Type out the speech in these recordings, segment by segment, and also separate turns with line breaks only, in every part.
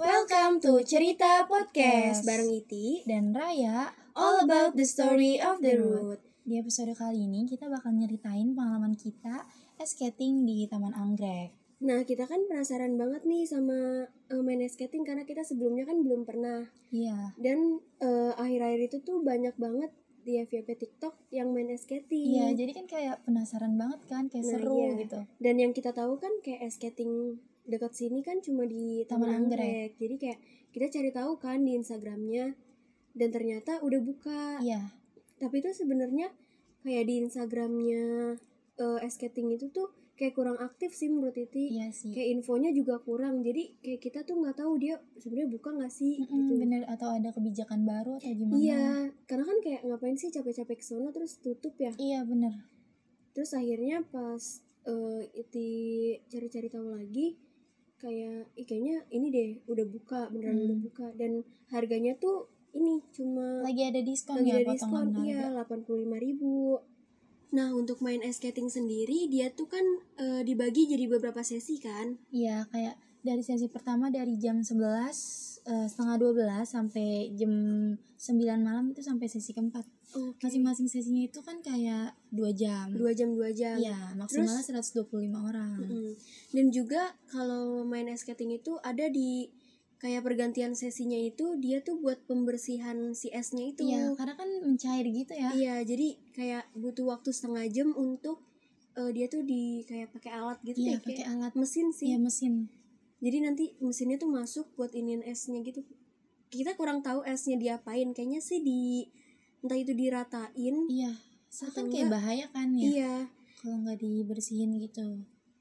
Welcome to Cerita Podcast
Podcast.
bareng Iti,
dan Raya.
all about the story of the road.
Di episode kali ini kita bakal nyeritain pengalaman kita ice skating di Taman Anggrek.
Nah, kita kan penasaran banget nih sama eh, main ice skating karena kita sebelumnya kan belum pernah.
Iya.
Dan eh, akhir-akhir itu tuh banyak banget di FYP TikTok yang main ice skating.
Iya, jadi kan kayak penasaran banget kan, kayak
Nah,
seru
iya.
gitu.
Dan yang kita tahu kan kayak ice skating dekat sini kan cuma di Taman,
Taman
Anggrek.
Anggrek.
Jadi kayak kita cari tahu kan di Instagramnya dan ternyata udah buka.
Iya.
Tapi itu sebenarnya kayak di Instagramnya eh, ice skating itu tuh kayak kurang aktif sih menurut Titi.
Iya sih.
Kayak infonya juga kurang. Jadi kayak kita tuh nggak tahu dia sebenarnya buka nggak sih
Mm-mm,
gitu.
Bener atau ada kebijakan baru atau gimana?
Iya, karena kan kayak ngapain sih capek-capek ke sono terus tutup ya.
Iya, bener.
terus akhirnya pas eh iti cari-cari tahu lagi kayak "Ih, kayaknya ini deh udah buka beneran
Hmm.
udah buka dan harganya tuh ini cuma
Lagi ada diskon
lagi
ya
ada
potongan
diskon
harga.
iya delapan ribu nah untuk main ice skating sendiri dia tuh kan eh, dibagi jadi beberapa sesi kan
Iya, kayak dari sesi pertama dari jam 11 eh, setengah 12 sampai jam 9 malam itu sampai sesi keempat.
Oke.
Masing-masing sesinya itu kan kayak 2 jam.
dua jam dua jam
Iya, maksimalnya 125 orang.
Mm-mm. dan juga kalau main ice skating itu ada di kayak pergantian sesinya itu dia tuh buat pembersihan si esnya itu
Iya, karena kan mencair gitu ya.
Iya, jadi kayak butuh waktu setengah jam untuk eh, dia tuh di kayak pakai alat gitu
Iya,
deh,
pakai
kayak
alat
mesin sih.
Iya, mesin.
Jadi nanti mesinnya tuh masuk buat iniin esnya gitu. Kita kurang tahu esnya diapain, kayaknya sih di entah itu diratain.
Iya. Soalnya
Atau
kan kayak
enggak-
bahaya kan ya
Iya.
kalau nggak dibersihin gitu.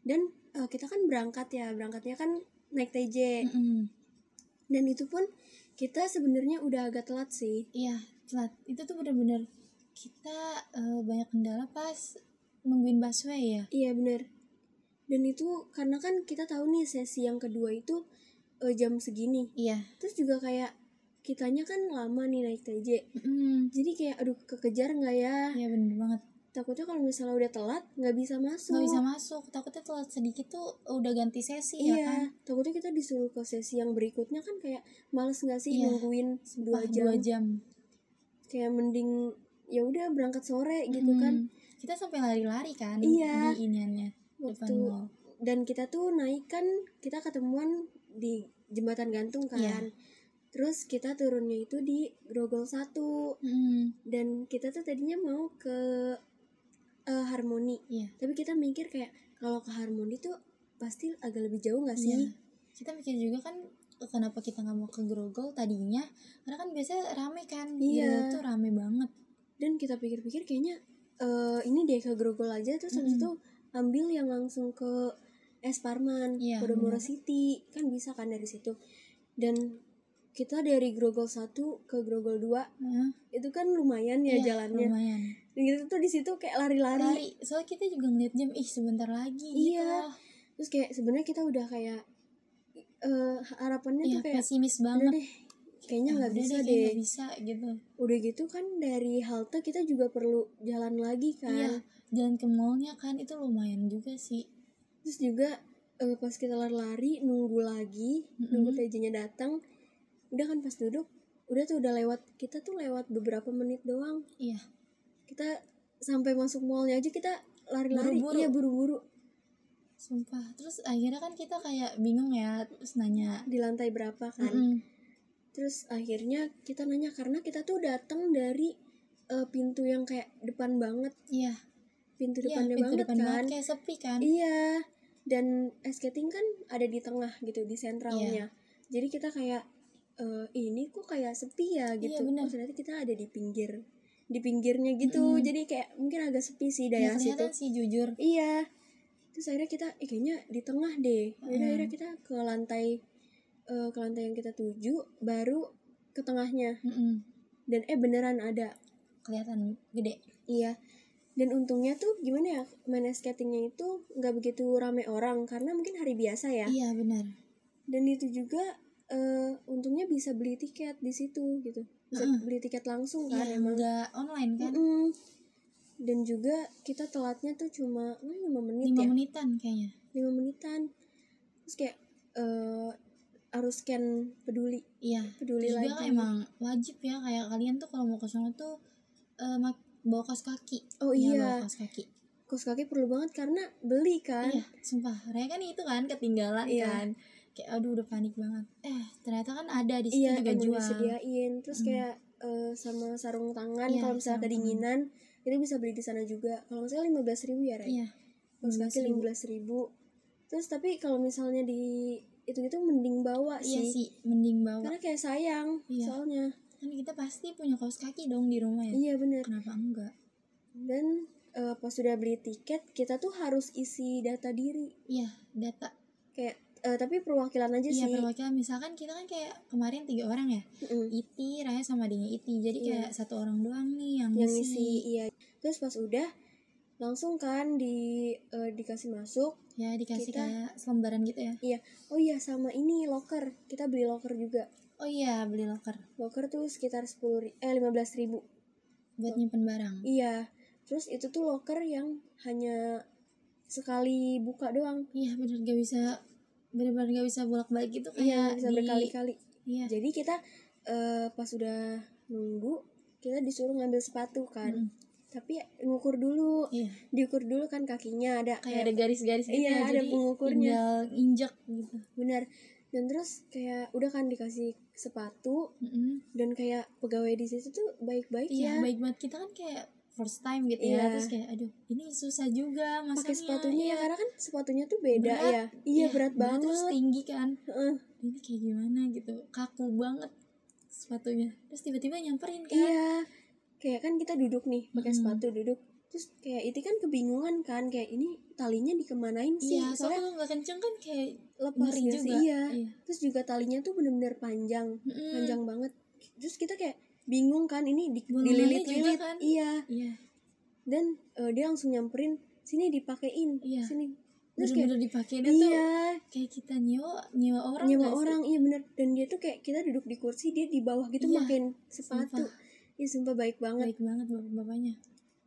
Dan eh, kita kan berangkat ya, berangkatnya kan naik TJ.
Mm-mm.
Dan itu pun kita sebenarnya udah agak telat sih.
Iya, telat. Itu tuh bener-bener kita eh, banyak kendala pas nungguin busway ya.
Iya bener Dan itu karena kan kita tahu nih sesi yang kedua itu eh, jam segini.
Iya.
terus juga kayak kitanya kan lama nih naik TJ
Mm-mm.
jadi kayak aduh kekejar nggak ya
Iya bener banget.
takutnya kalau misalnya udah telat nggak bisa masuk
Nggak bisa masuk. Takutnya telat sedikit tuh udah ganti sesi
iya
ya kan.
takutnya kita disuruh ke sesi yang berikutnya kan kayak males nggak sih
Iya.
nungguin
Wah,
dua jam
Dua jam.
kayak mending ya udah berangkat sore gitu
Mm.
kan
Kita sampai lari-lari kan
Iya.
di iniannya depan
Waktu-
mall.
dan kita tuh naik kan kita ketemuan di jembatan gantung kan
Iya.
terus kita turunnya itu di grogol satu
Mm-mm.
dan kita tuh tadinya mau ke eh, harmoni
Iya.
tapi kita mikir kayak kalau ke Harmoni tuh pasti agak lebih jauh nggak sih?
Iya. Kita mikir juga kan kenapa kita nggak mau ke Grogol tadinya karena kan biasanya rame kan di
Iya.
Grogol tuh rame banget
Dan kita pikir-pikir kayaknya eh, ini deh ke Grogol aja terus habis
Mm-mm.
itu ambil yang langsung ke Es Parman,
Iya,
Podomoro
benar.
City kan bisa kan dari situ. Dan kita dari Grogol 1 ke Grogol 2
Hah?
itu kan lumayan ya
Iya,
jalannya.
lumayan
Dan kita tuh di situ kayak
lari.
lari-lari.
soalnya kita juga ngeliat jam ih sebentar lagi gitu
Iya.
loh.
Terus kayak sebenarnya kita udah kayak eh, harapannya
iya
tuh kayak
pesimis
"Udah
banget
deh, kayaknya
Ah,
nggak
udah
bisa
deh,
deh.
nggak bisa gitu
udah gitu kan dari halte kita juga perlu jalan lagi kan
iya jalan ke mallnya kan itu lumayan juga sih
terus juga eh, pas kita lari-lari nunggu lagi
Mm-mm.
nunggu TJ-nya datang udah kan pas duduk udah tuh udah lewat kita tuh lewat beberapa menit doang
iya
kita sampai masuk mallnya aja kita lari-lari
Buru-buru.
iya buru-buru
sumpah terus akhirnya kan kita kayak bingung ya terus nanya
di lantai berapa kan
Mm-mm.
terus akhirnya kita nanya karena kita tuh datang dari eh, pintu yang kayak depan banget
iya
pintu
iya
depannya
pintu
banget
depan
kan
banget kayak sepi kan
Iya, dan ice skating kan ada di tengah gitu, di
Iya.
sentralnya. Jadi kita kayak "Eh, ini kok kayak sepi ya gitu.
Iya, benar.
Oh, ternyata kita ada di pinggir, di pinggirnya gitu.
Mm-mm.
Jadi kayak mungkin agak sepi sih
Iya,
daerah situ.
kelihatan sih jujur
Iya. Terus akhirnya kita "Ih, kayaknya di tengah deh. Yaudah
Mm.
akhirnya kita ke lantai eh, ke lantai yang kita tuju, baru ke tengahnya.
Mm-mm.
Dan eh beneran ada.
kelihatan gede
Iya. Dan untungnya tuh gimana ya main ice skatingnya itu nggak begitu rame orang karena mungkin hari biasa ya.
Iya benar.
Dan itu juga eh, untungnya bisa beli tiket di situ gitu. Bisa
Mm-mm.
beli tiket langsung
Iya
kan emang.
nggak online kan?
Mm-mm. Dan juga kita telatnya tuh cuma eh, lima menit
Lima
ya.
menitan kayaknya.
lima menitan. Terus kayak eh harus scan peduli
Iya.
peduli
Terus juga
lagi
emang wajib ya kayak kalian tuh kalau mau ke sono tuh eh, ma- bawa kaos kaki.
oh
Iya,
iya
bawa kaos kaki.
kos kaki perlu banget karena beli kan
Iya, sumpah. Raya kan itu kan ketinggalan
Iya.
kan. Kayak aduh udah panik banget. Eh, ternyata kan ada di situ
iya
juga
emang
jual.
disediain terus
Mm.
kayak eh, sama sarung tangan
Iya,
kalau misalnya
sarung
kedinginan itu bisa beli di sana juga kalau nggak salah lima belas ribu ya Ray
Iya.
Kaos kaki
15.000.
lima belas ribu terus tapi kalau misalnya di itu gitu mending bawa
Iya
sih.
sih, mending bawa.
karena kayak sayang
Iya.
soalnya
Kan kita pasti punya kaos kaki dong di rumah ya.
iya bener
Kenapa enggak?
dan eh, pas sudah beli tiket kita tuh harus isi data diri
Iya, data.
kayak eh, tapi perwakilan aja
Iya,
sih
perwakilan misalkan kita kan kayak kemarin tiga orang ya.
Mm-mm.
Iti, Raya sama Dini Iti. Jadi
Iya.
kayak satu orang doang nih yang,
yang
ngisi.
isi iya terus pas udah langsung kan di eh, dikasih masuk
Ya, dikasih
Kita-
kayak selembaran gitu ya.
oh iya sama ini locker kita beli locker juga
Oh iya, beli locker
locker tuh sekitar sepuluh eh lima belas ribu
buat nyimpen barang.
iya terus itu tuh locker yang hanya sekali buka doang
Iya, bener gak bisa bener-bener gak bisa bolak-balik gitu
iya
kayak
bisa
di-
berkali-kali
Iya.
jadi kita eh, pas udah nunggu kita disuruh ngambil sepatu kan
Mm-mm.
tapi ngukur dulu
Iya,
diukur dulu kan kakinya ada
kayak ada garis-garis gitu.
Iya,
ya,
ada
jadi
pengukurnya.
tinggal injak gitu.
benar dan terus kayak udah kan dikasih sepatu
Mm-mm.
dan kayak pegawai di situ tuh baik-baik ya
Iya, baik banget kita kan kayak first time gitu
Iya.
ya. Terus kayak aduh, ini susah juga masaknya.
pakai sepatunya ya karena kan sepatunya tuh beda
iya. Berat.
ya iya berat
Terus
banget
tinggi kan.
Heeh.
Ini kayak gimana gitu. Kaku banget sepatunya. Terus tiba-tiba nyamperin kan.
iya kayak kan kita duduk nih pakai
Mm.
sepatu duduk terus kayak itu kan kebingungan kan kayak ini talinya dikemanain sih
Iya, soalnya
soalnya
kalau nggak kenceng kan kayak
lepas
ngeri
nggak
juga. Mm.
sih iya terus juga talinya tuh bener-bener panjang
Mm-mm.
panjang banget terus kita kayak bingung kan ini di,
Bulu
dililit-lilit
juga kan.
iya
Iya,
dan eh, dia langsung nyamperin sini dipakein
Iya.
sini terus kayak
bener-bener dipakainya tuh
iya
kayak kita nyewa nyewa orang
nyewa
nggak sih?
orang iya bener dan dia tuh kayak kita duduk di kursi dia di bawah gitu
Iya,
makin sepatu Iya sumpah baik banget
baik banget bapak bapaknya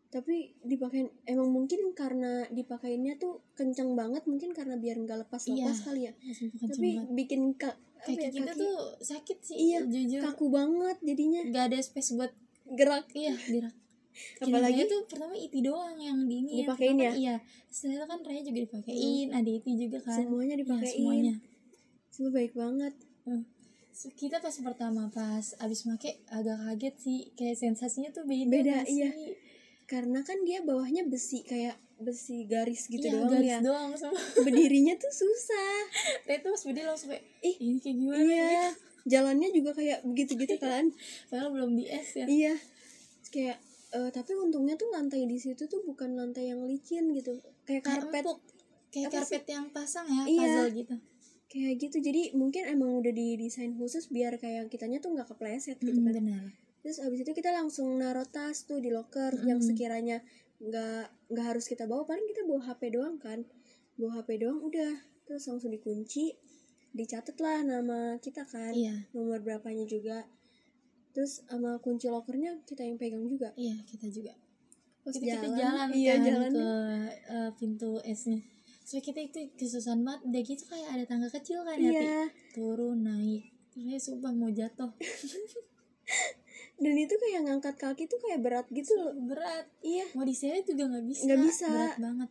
tapi dipakein emang mungkin karena dipakainnya tuh kencang banget mungkin karena biar nggak lepas lepas
Iya,
kali ya
langsung bukan
tapi
banget
bikin ka- apa
kaki
ya,
kita
kaki
tuh ya. sakit sih
Iya,
jujur
kaku banget jadinya
nggak ada space buat
gerak
iya gerak
apalagi
Kira-kira tuh pertama iti doang yang di ini
Dipakein ya?
pertama, iya setelah kan Raya juga dipakein ada iti juga kan
semuanya
Iya,
dipakein
semuanya
semua baik banget
So, kita pas pertama pas abis make agak kaget sih kayak sensasinya tuh beda
Beda,
nggak sih?
iya. karena kan dia bawahnya besi kayak besi garis gitu
Iya,
doang
garis
ya
doang semua
berdirinya tuh susah
Raya tuh pas beda langsung kayak
Ih,
ini kayak gimana
iya jalannya juga kayak begitu gitu kan
padahal belum di es ya
iya kayak eh, tapi untungnya tuh lantai di situ tuh bukan lantai yang licin gitu kayak
Kayak
karpet
empuk. kayak
Apa
karpet yang pasang ya
Iya.
puzzle gitu
kayak gitu jadi mungkin emang udah didesain khusus biar kayak kitanya tuh nggak kepleset gitu
Mm,
kan
benar
terus abis itu kita langsung naruh tas tuh di locker
Mm-mm.
yang sekiranya nggak nggak harus kita bawa paling kita bawa hp doang kan bawa hp doang udah terus langsung dikunci dicatat lah nama kita kan
iya
nomor berapanya juga terus sama kunci lokernya kita yang pegang juga
iya kita juga
Pas
kita, kita jalan
iya
kan
jalan
ke eh, pintu esnya so kita itu kesusahan banget udah gitu kayak ada tangga kecil kan ya Ti?
iya
turun naik saya sumpah mau jatuh
dan itu kayak ngangkat kaki tuh kayak berat gitu loh
berat
iya
mau diseret juga nggak bisa
Nggak bisa.
berat banget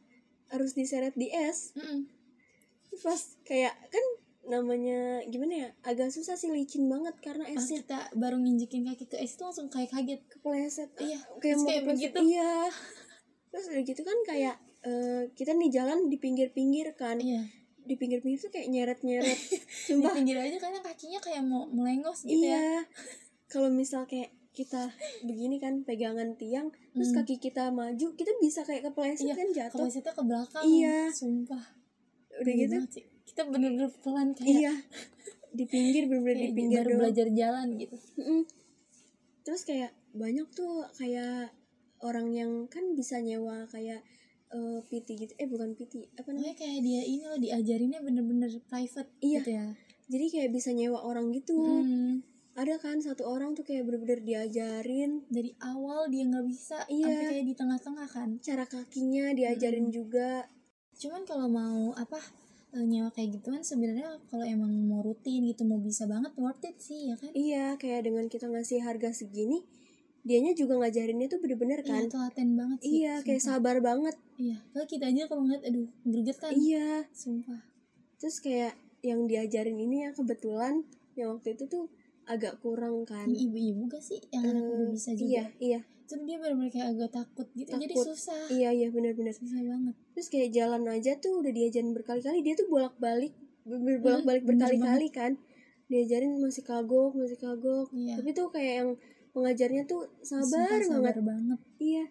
harus diseret di es
Mm-mm.
pas kayak kan namanya gimana ya agak susah sih licin banget karena
pas
esnya
kita baru nginjekin kaki ke es itu langsung kayak kaget
kepleset
Iya,
Ah,
terus
mau
kayak
kepleset.
begitu.
iya terus udah gitu kan kayak eh, kita nih jalan di pinggir-pinggir kan
iya
di pinggir-pinggir tuh kayak nyeret-nyeret
di
sumpah
pinggir aja karena kakinya kayak mau melengos gitu ya
iya kalau misal kayak kita begini kan pegangan tiang terus
Hmm.
kaki kita maju kita bisa kayak kepleset
Iya,
kan jatuh
keplesetnya ke belakang
Iya.
sumpah
udah
Geli
gitu
banget sih. kita bener-bener pelan kayak,
iya di pinggir bener-bener
kayak
di pinggir
baru
doang
belajar jalan gitu
Mm-mm. terus kayak banyak tuh kayak orang yang kan bisa nyewa kayak eh, PT gitu eh bukan PT apa namanya
Pokoknya kayak dia ini loh diajarinnya bener-bener private
Iya.
gitu ya.
jadi kayak bisa nyewa orang gitu
Hmm,
ada kan satu orang tuh kayak bener-bener diajarin
dari awal dia nggak bisa,
Iya.
sampai kayak di tengah-tengah kan.
cara kakinya diajarin juga
Cuman kalau mau apa eh, nyewa kayak gitu kan sebenarnya kalau emang mau rutin gitu mau bisa banget worth it sih ya kan
Iya, kayak dengan kita ngasih harga segini, dianya juga ngajarinnya tuh bener-bener
Iya,
kan.
telaten banget sih
Iya, kayak
sumpah.
sabar banget.
iya kalau kita aja kalau ngeliat aduh gregetan
Iya,
sumpah
terus kayak yang diajarin ini yang kebetulan yang waktu itu tuh agak kurang kan.
Ini ibu-ibu gak sih yang anak
Eh,
Iya, udah bisa
Iya,
juga
iya,
terus dia benar-benar kayak agak takut gitu jadi
Takut.
susah
iya, iya bener-bener.
susah banget
Terus kayak jalan aja tuh udah diajarin berkali-kali, dia tuh bolak-balik, bener-bener bolak-balik
Iya, bener
berkali-kali kan. Diajarin masih kagok, masih kagok.
iya
Tapi tuh kayak yang pengajarnya tuh
Sumpah,
sabar banget.
sabar banget
Iya.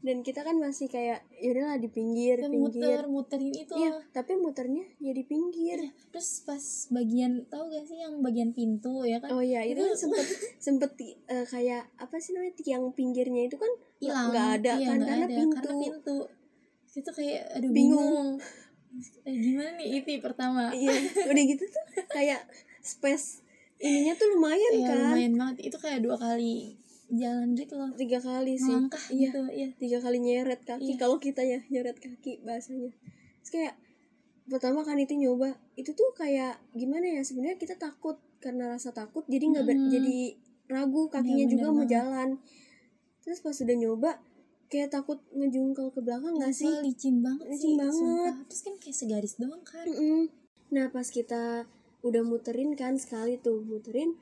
Dan kita kan masih kayak yaudahlah di pinggir,
Dia
pinggir.
muter Iya. muterin itu
Iya,
loh.
tapi muternya ya di pinggir.
terus pas bagian tahu gak sih yang bagian pintu ya kan
Oh iya, itu kan
Itu-
sempet sempet ti- eh, kayak apa sih namanya tiang pinggirnya itu kan nggak-
hilang
nggak ada
Iya,
kan
nggak
karena,
ada,
pintu.
karena pintu Terus itu kayak aduh
Bingung.
bingung, Eh, gimana nih itu pertama
Iya, udah gitu tuh kayak space ininya tuh lumayan
ya
kan.
lumayan banget itu kayak dua kali jalan gitu loh
Tiga kali sih.
melangkah
Iya,
gitu iya
tiga kali nyeret kaki
Iya.
kalau kita ya nyeret kaki bahasanya. Terus kayak pertama kan itu nyoba itu tuh kayak gimana ya sebenarnya kita takut karena rasa takut jadi nggak ber-
Mm.
jadi ragu kakinya
Iya, bener
juga mau
banget.
jalan terus pas udah nyoba kayak takut ngejungkel ke belakang nggak sih
Sumpah, licin banget
Licin
sih
banget.
sumpah. terus kan kayak segaris doang kan
Mm-mm. Nah pas kita udah muterin kan sekali tuh muterin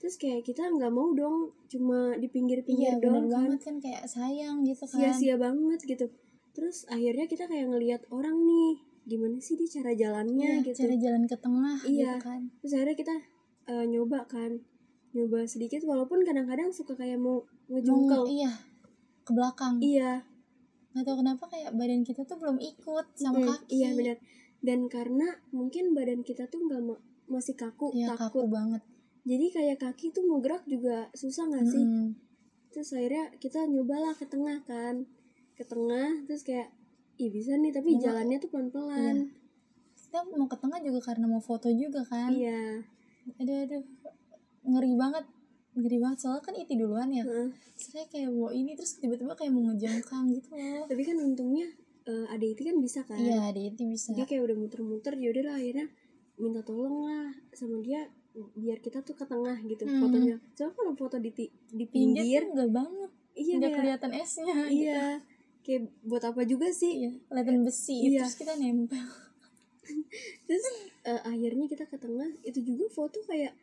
Terus kayak kita nggak mau dong cuma di
iya
pinggir-pinggir
bener
doang kan
banget kan kayak sayang gitu kan
Sia-sia banget gitu Terus akhirnya kita kayak ngelihat orang nih Gimana sih dia cara
Iya,
jalannya gitu
cara jalan ke tengah
Iya.
gitu kan
Terus akhirnya kita eh, nyoba kan Nyoba sedikit walaupun kadang-kadang suka kayak mau
mau
ngejungkel
iya ke belakang
Iya
nggak tahu kenapa kayak badan kita tuh belum ikut sama
mm,
kaki
Iya benar Dan karena mungkin badan kita tuh nggak ma- masih kaku
Iya, kaku
takut
banget
Jadi kayak kaki tuh mau gerak juga susah nggak sih
Mm-mm.
terus akhirnya kita nyobalah ke tengah kan ke tengah terus kayak ih bisa nih tapi
Nyoba.
jalannya tuh pelan pelan
kita mau ke tengah juga karena mau foto juga kan
iya
aduh aduh ngeri banget ngeri banget soalnya kan itu duluan ya
Heeh.
saya kayak wow ini terus tiba-tiba kayak mau ngejongkang gitu loh
tapi kan untungnya eh, ada itu kan bisa kan
iya dia itu bisa
dia kayak udah muter muter ya udahlah akhirnya minta tolong lah sama dia biar kita tuh ke tengah gitu
Hmm.
fotonya soalnya kalau foto di ti- di
pinggir
pinggir
tuh enggak banget
iya
nggak
kayak
kelihatan esnya gitu.
iya kayak buat apa juga sih
iya kelihatan besi
Iya.
terus kita nempel
terus eh, akhirnya kita ke tengah itu juga foto kayak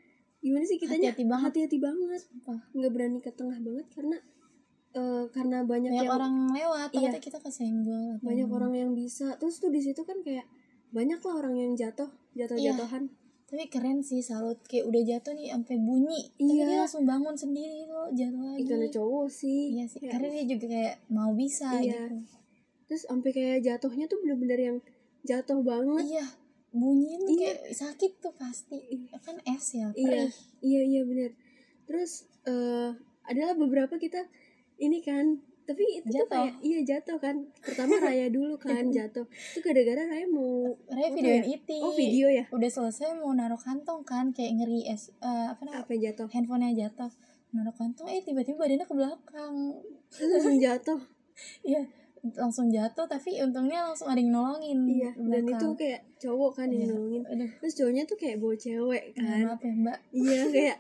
gimana sih kitanya
Hati-hati banget.
hati-hati banget
Sumpah.
nggak berani ke tengah banget karena eh, karena banyak,
banyak
yang
orang Hmm. lewat
Iya.
takutnya kita kesenggol atau
banyak
gimana.
orang yang bisa terus tuh di situ kan kayak banyak lah orang yang jatuh jatuh
Iya.
jatuhan
tapi keren sih salut kayak udah jatuh nih sampai bunyi tapi
Iya.
dia langsung bangun sendiri gitu loh jatuh lagi
Ih, karena cowok sih
iya sih
Kayak-
karena dia juga kayak mau bisa
Iya.
gitu
terus sampai kayak jatuhnya tuh bener-bener yang jatuh banget
iya bunyiin tuh
Iya.
kayak sakit tuh pasti kan es ya
Iya.
perih.
iya iya bener terus eh adalah beberapa kita ini kan tapi itu tuh
Jatuh. Iya.
kayak iya jatuh kan pertama Raya dulu kan jatuh itu gara-gara Raya mau
Raya
Foto
videoin Iti
oh video ya
udah selesai mau naruh kantong kan kayak ngeri es eh, apa namanya
apa yang jatuh
handphonenya jatuh naruh kantong eh tiba-tiba badannya ke belakang
Terus langsung jatuh
iya langsung jatuh tapi untungnya langsung ada yang nolongin
Iya,
ke
dan itu
Hmm, belakang.
kayak cowok kan yang
Iya.
nolongin.
aduh
Terus cowoknya tuh kayak bawa cewek
mohon
kan.
maaf ya mbak
Iya, kayak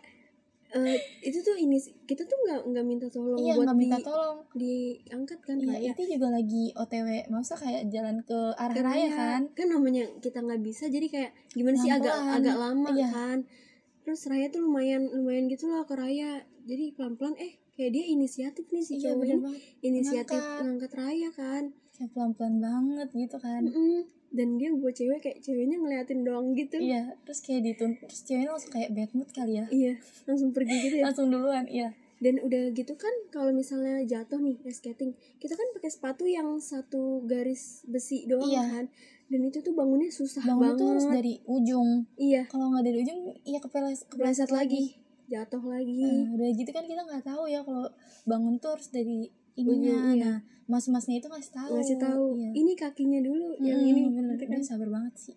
eh, itu tuh ini sih, kita tuh nggak nggak minta tolong
iya
buat
nggak minta
di,
tolong
diangkat kan
Iya,
kayak
itu juga lagi OTW, maksudnya kayak jalan ke arah raya kan.
kan namanya kita nggak bisa jadi kayak gimana sih agak
Pelan-pelan.
agak lama
Iya.
kan. Terus Raya tuh lumayan lumayan gitu loh ke Raya. Jadi pelan-pelan eh kayak dia inisiatif nih si
Iya,
cowok
bener
ini.
banget.
Inisiatif
Ngangkat.
ngangkat Raya kan.
Kayak pelan-pelan banget gitu kan.
Mm-mm. Dan dia buat cewek kayak ceweknya ngeliatin doang gitu.
Iya, terus kayak dituntut, terus ceweknya langsung kayak bad mood kali ya.
Iya, langsung pergi gitu ya.
Langsung duluan, iya.
Dan udah gitu kan kalau misalnya jatuh nih ice skating, kita kan pakai sepatu yang satu garis besi doang
Iya.
kan. Dan itu tuh bangunnya susah
Bangun
banget.
tuh harus dari ujung.
Iya,
Kalau nggak dari ujung, iya kepeles,
kepleset lagi, Hmm. jatuh lagi.
Eh, udah gitu kan kita nggak tahu ya kalau bangun tuh harus dari
Ujung,
ininya.
iya.
Nah, mas-masnya itu ngasih tahu.
Ngasih tahu,
Iya.
ini kakinya dulu yang
Hmm,
ini.
bener.
Gitu kan.
Dia sabar banget sih.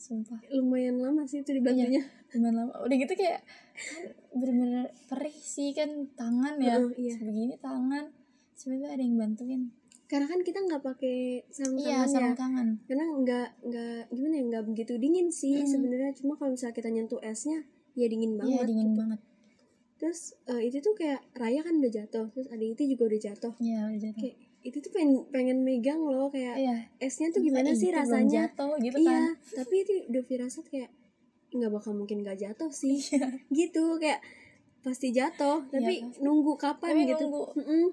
Sumpah.
Lumayan lama sih
Iya.
itu dibantunya.
Cuman lama udah gitu kayak kan bener-bener perih sih kan tangan ya
Heeh, iya.
begini tangan tiba ada yang bantuin
karena kan kita nggak pakai sarung
iya
tangan ya
sarung tangan
karena nggak nggak gimana ya nggak begitu dingin sih
Mm.
sebenarnya cuma kalau misalnya kita nyentuh esnya ya dingin
iya
banget
dingin
gitu.
banget
terus eh, itu tuh kayak Raya kan udah jatuh terus adik itu juga udah jatuh
iya udah jatuh
kayak itu tuh pengen pengen megang loh kayak
iya
esnya tuh gimana sih
itu belum
rasanya
jatuh gitu kan
iya tapi itu udah firasat kayak nggak bakal mungkin nggak jatuh sih gitu kayak pasti jatuh tapi
Iya. pasti.
nunggu kapan
Tapi
gitu
nunggu.
Mm-mm.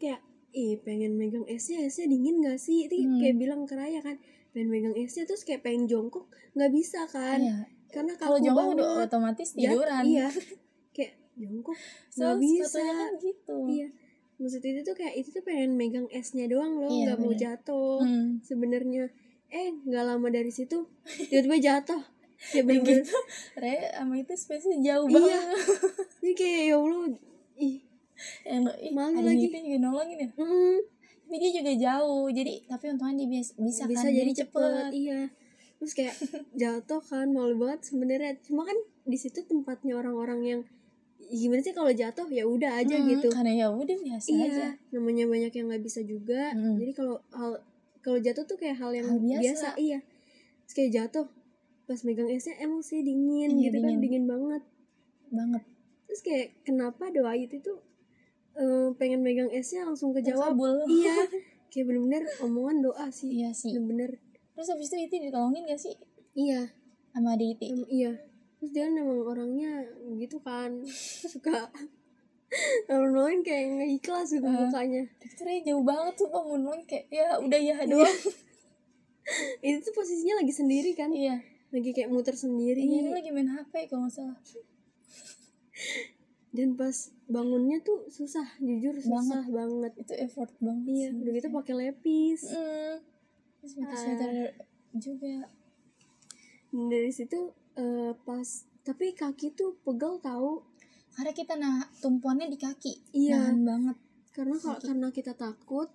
kayak ih pengen megang esnya esnya dingin gak sih itu
Hmm.
kayak bilang ke Raya kan pengen megang esnya terus kayak pengen jongkok nggak bisa kan
Iya.
karena
kalau
kaku
jongkok
banget.
udah otomatis
Jat-
tiduran Iya.
iya kayak jongkok nggak
so,
bisa
sepatunya kan gitu
iya maksud itu tuh kayak itu tuh pengen megang esnya doang loh
Iya,
nggak mau
bener.
jatuh
Hmm.
sebenarnya eh nggak lama dari situ tiba-tiba jatuh ya
Udah
bener
gitu Re sama itu spesies jauh banget
iya ini kayak ya allah ih
yang lo- ih,
Malu
ada
lagi.
Hiti juga nolongin ya
mm,
tapi dia juga jauh jadi tapi untungnya dia bias- bisa,
bisa
kan
jadi cepet iya terus kayak jatuh kan malu banget sebenarnya cuma kan di situ tempatnya orang-orang yang gimana sih kalau jatuh ya udah aja
Mm,
gitu
karena ya udah biasa
iya
aja
namanya banyak yang nggak bisa juga
Mm.
jadi kalau hal kalau jatuh tuh kayak hal yang
Hal biasa.
biasa. iya terus kayak jatuh pas megang esnya emang sih dingin
Iya,
gitu kan dingin
dingin.
banget
banget
terus kayak kenapa doa itu tuh eh, pengen megang esnya langsung kejawab
Kabul.
iya kayak bener-bener omongan doa sih
iya sih
bener-bener
terus habis itu itu ditolongin gak sih
iya
sama Ade Iti
em- iya terus dia memang orangnya gitu kan suka nolongin kayak nggak ikhlas gitu
Eh.
mukanya
Dokternya jauh banget tuh mau nolongin kayak ya udah ya
Iya.
doang
itu tuh posisinya lagi sendiri kan
iya
lagi kayak muter sendiri
Iya, dia lagi main HP kalau nggak salah
dan pas bangunnya tuh susah jujur susah banget,
itu effort banget
iya
sih.
udah gitu Ah. pakai lepis
Mm. terus pakai sweater juga
Dan dari situ eh, pas tapi kaki tuh pegel tahu
karena kita nah tumpuannya di kaki
Iya.
nahan banget
karena kalau
Gitu.
karena kita takut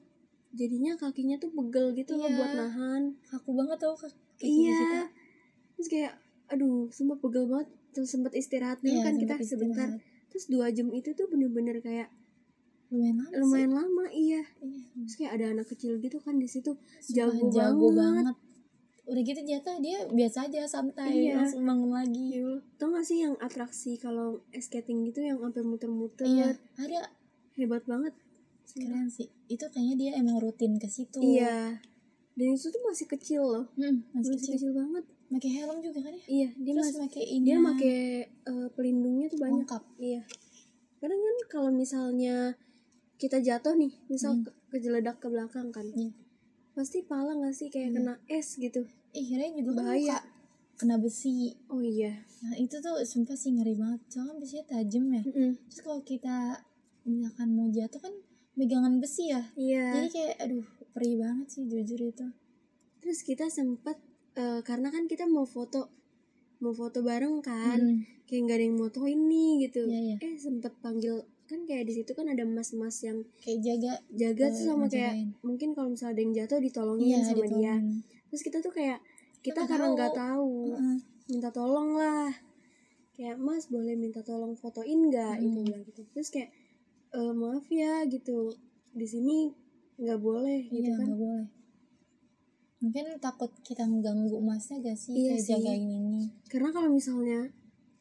jadinya kakinya tuh pegel gitu loh
Iya.
buat nahan
kaku banget tau kaki
iya
kita
terus kayak aduh sumpah pegel banget terus sempat istirahat dulu
Iya,
kan kita
sempet istirahat.
sebentar terus dua jam itu tuh bener-bener kayak
lumayan lama sih.
lumayan lama iya
Iya.
terus kayak ada anak kecil gitu kan di situ
Sumpah,
jago,
jago
banget.
banget. udah gitu jatuh dia biasa aja santai
Iya.
langsung bangun lagi
Iya, tau gak sih yang atraksi kalau ice skating gitu yang sampai muter-muter
iya ada
hebat banget
keren sih itu kayaknya dia emang rutin ke situ
iya dan itu tuh masih kecil loh
Hmm, masih
masih,
kecil.
kecil. banget
pakai helm juga kan ya
iya dia
terus
masih
pakai
dia
inan.
pakai eh, pelindungnya tuh banyak
Hmm. Lengkap.
iya kadang kan kalau misalnya kita jatuh nih misal
Hmm.
ke- kejeledak ke belakang kan
Iya.
pasti pala gak sih
Hmm.
kayak kena es gitu
ih Ray juga kan
Bahaya.
luka. kena besi
oh iya
nah itu tuh sumpah sih ngeri banget soalnya besinya tajam ya
Mm-mm.
terus kalau kita misalkan mau jatuh kan pegangan besi ya
iya
jadi kayak aduh perih banget sih jujur itu
terus kita sempet eh, karena kan kita mau foto mau foto bareng kan
Mm.
kayak nggak ada yang mau toin nih gitu
Iya, iya.
eh sempet panggil kan kayak di situ kan ada mas-mas yang
kayak jaga
jaga
Eh,
tuh sama kayak
ngejagain.
mungkin kalau misalnya ada yang jatuh ditolongin
Iya,
sama dia
ditolongin.
terus kita tuh kayak kita
nggak
karena
tahu.
nggak tahu
Heeh.
minta tolong lah kayak mas boleh minta tolong fotoin nggak itu bilang gitu terus kayak "E, maaf ya gitu di sini nggak boleh gitu
iya
kan
nggak boleh mungkin takut kita mengganggu masnya gak sih
Iya
kayak
sih.
jagain ini
karena kalau misalnya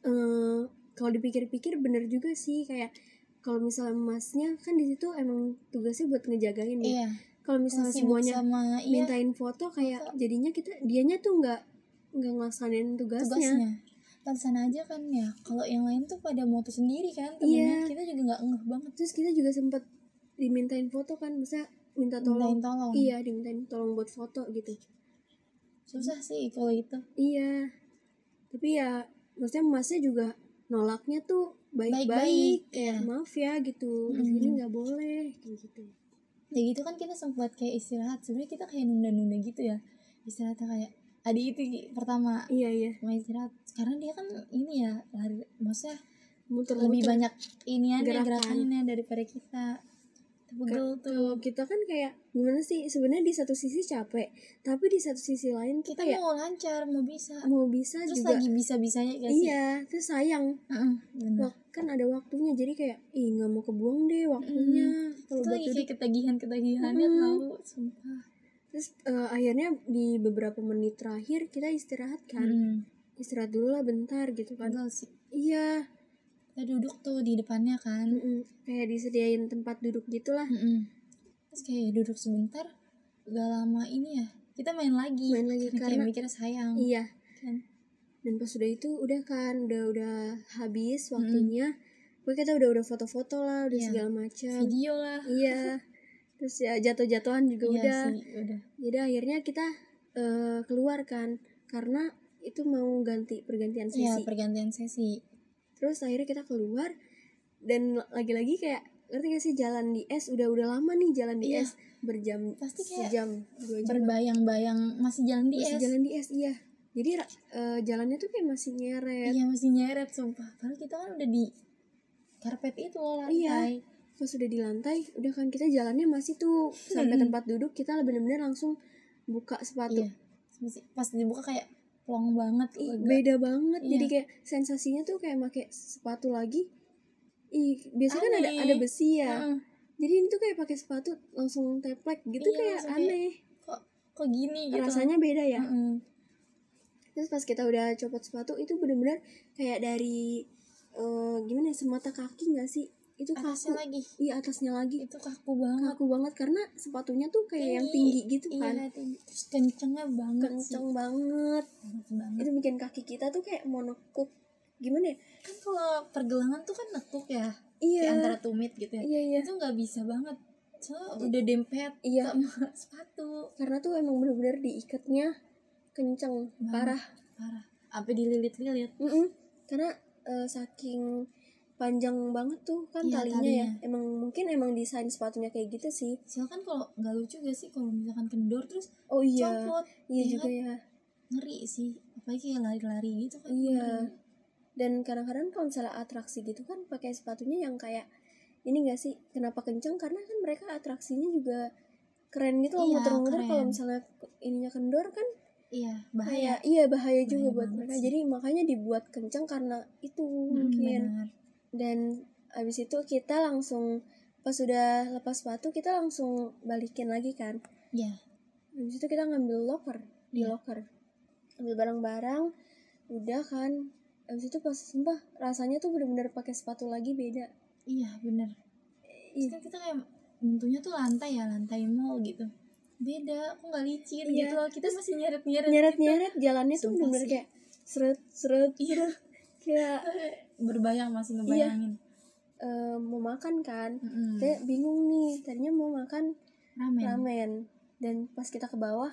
eh kalau dipikir-pikir bener juga sih kayak kalau misalnya masnya kan di situ emang tugasnya buat ngejagain ya
iya
kalau misalnya
sibuk
semuanya
sama iya,
mintain foto kayak jadinya kita dianya tuh nggak nggak ngelaksanain tugasnya.
tugasnya Pantesan aja kan ya kalau yang lain tuh pada moto sendiri kan
Iya.
temennya kita juga nggak ngeh banget
terus kita juga sempet dimintain foto kan masa minta
mintain
tolong
tolong
iya dimintain tolong buat foto gitu
susah sih kalau itu
iya tapi ya maksudnya masnya juga nolaknya tuh
Baik-baik,
baik-baik
iya.
kayak maaf ya gitu di
Mm.
sini nggak boleh kayak gitu
ya gitu kan kita sempat kayak istirahat sebenarnya kita kayak nunda-nunda gitu ya istirahatnya kayak adi itu pertama
iya iya
mau istirahat karena dia kan ini ya lari maksudnya
muter
lebih banyak iniannya
Gerakan.
gerakannya daripada kita Pegel tuh.
kalau kita kan kayak gimana sih sebenarnya di satu sisi capek tapi di satu sisi lain
Kita
kita ya
mau lancar, mau bisa.
mau bisa
Terus
juga
lagi bisa-bisanya gak sih? Hmm.
iya terus sayang
Heeh, bener.
Wak- kan ada waktunya jadi kayak ih nggak mau kebuang deh waktunya kalau
itu
buat
Hmm. lagi
duduk.
kayak ketagihan-ketagihannya
Mm.
tahu sumpah
terus eh, akhirnya di beberapa menit terakhir kita istirahat kan
Mm.
istirahat dulu lah bentar gitu kan
Padahal sih
iya
kita duduk tuh di depannya kan
mm-mm. kayak disediain tempat duduk gitulah
Mm-mm. terus kayak duduk sebentar gak lama ini ya kita main lagi
Main lagi,
kayak
karena-
mikirnya sayang
iya
kan
dan pas udah itu udah kan udah udah habis waktunya Pokoknya kita udah udah foto-foto lah udah
Hmm. Iya.
segala macam
video lah
iya terus ya jatuh-jatuhan juga
Iya
udah
sih, udah
jadi akhirnya kita eh, keluar kan karena itu mau ganti pergantian
Iya,
sesi
pergantian sesi
terus akhirnya kita keluar dan lagi-lagi kayak ngerti gak sih jalan di es udah udah lama nih jalan di
Iya.
es berjam
Pasti kayak
sejam dua jam
berbayang-bayang masih jalan di
masih
es
jalan di es iya jadi ra- eh, jalannya tuh kayak masih nyeret
iya masih nyeret sumpah padahal kita kan udah di karpet itu loh
Iya.
lantai
pas udah di lantai udah kan kita jalannya masih tuh
Hmm.
sampai tempat duduk kita bener-bener langsung buka sepatu
iya. Masih- pas dibuka kayak plong banget
Ih,
lega.
beda banget
Iya.
jadi kayak sensasinya tuh kayak pakai sepatu lagi ih biasanya kan ada
Aneh.
ada besi ya
Heeh.
jadi ini tuh kayak pakai sepatu langsung teplek gitu
Iya,
kayak
langsung kayak
aneh
kok kok gini gitu
rasanya beda ya
Heeh.
terus pas kita udah copot sepatu itu bener-bener kayak dari eh, gimana ya semata kaki nggak sih itu kaku
atasnya lagi
iya atasnya lagi
itu kaku banget
kaku banget karena sepatunya tuh kayak yang tinggi gitu kan
iya, tinggi. terus kencengnya banget sih
kenceng banget
Banget banget.
itu bikin kaki kita tuh kayak mau nekuk gimana ya
kan kalau pergelangan tuh kan nekuk ya
iya
kayak antara tumit gitu ya
iya iya
itu nggak bisa banget so udah dempet
Iya.
sama sepatu
karena tuh emang bener-bener diikatnya kenceng
Banget.
parah
parah apa dililit-lilit
Mm-mm. karena eh, saking panjang banget tuh kan
Iya,
talinya,
talinya.
ya emang mungkin emang desain sepatunya kayak gitu sih
soalnya kan kalau nggak lucu gak sih kalau misalkan kendor terus
oh iya
copot
iya
ya
juga
kan?
ya
ngeri sih apalagi kayak lari-lari gitu kan
iya dan kadang-kadang kalau misalnya atraksi gitu kan pakai sepatunya yang kayak ini gak sih kenapa kenceng karena kan mereka atraksinya juga keren gitu loh
Iya,
muter-muter kalau
keren.
misalnya ininya kendor kan
iya
bahaya
bahaya
iya bahaya juga
Bahaya
buat
banget
mereka
sih.
jadi makanya dibuat kenceng karena itu
Mm,
mungkin
benar.
dan abis itu kita langsung pas sudah lepas sepatu kita langsung balikin lagi kan
iya
abis itu kita ngambil locker di
Iya.
locker ambil barang-barang udah kan abis itu pas sumpah rasanya tuh bener-bener pakai sepatu lagi beda
iya benar Terus
Ih,
kan kita kayak bentuknya tuh lantai ya lantai mall gitu beda aku nggak licin
Iya.
gitu loh kita masih gitu. nyeret nyeret
nyeret-nyeret jalannya tuh
Sumpah
bener-bener
sih. Iya.
kayak seret seret seret kayak
berbayang
Iya.
masih ngebayangin
eh, mau makan kan
Mm-mm.
Kita bingung nih tadinya mau makan
Hmm. ramen
ramen dan pas kita ke bawah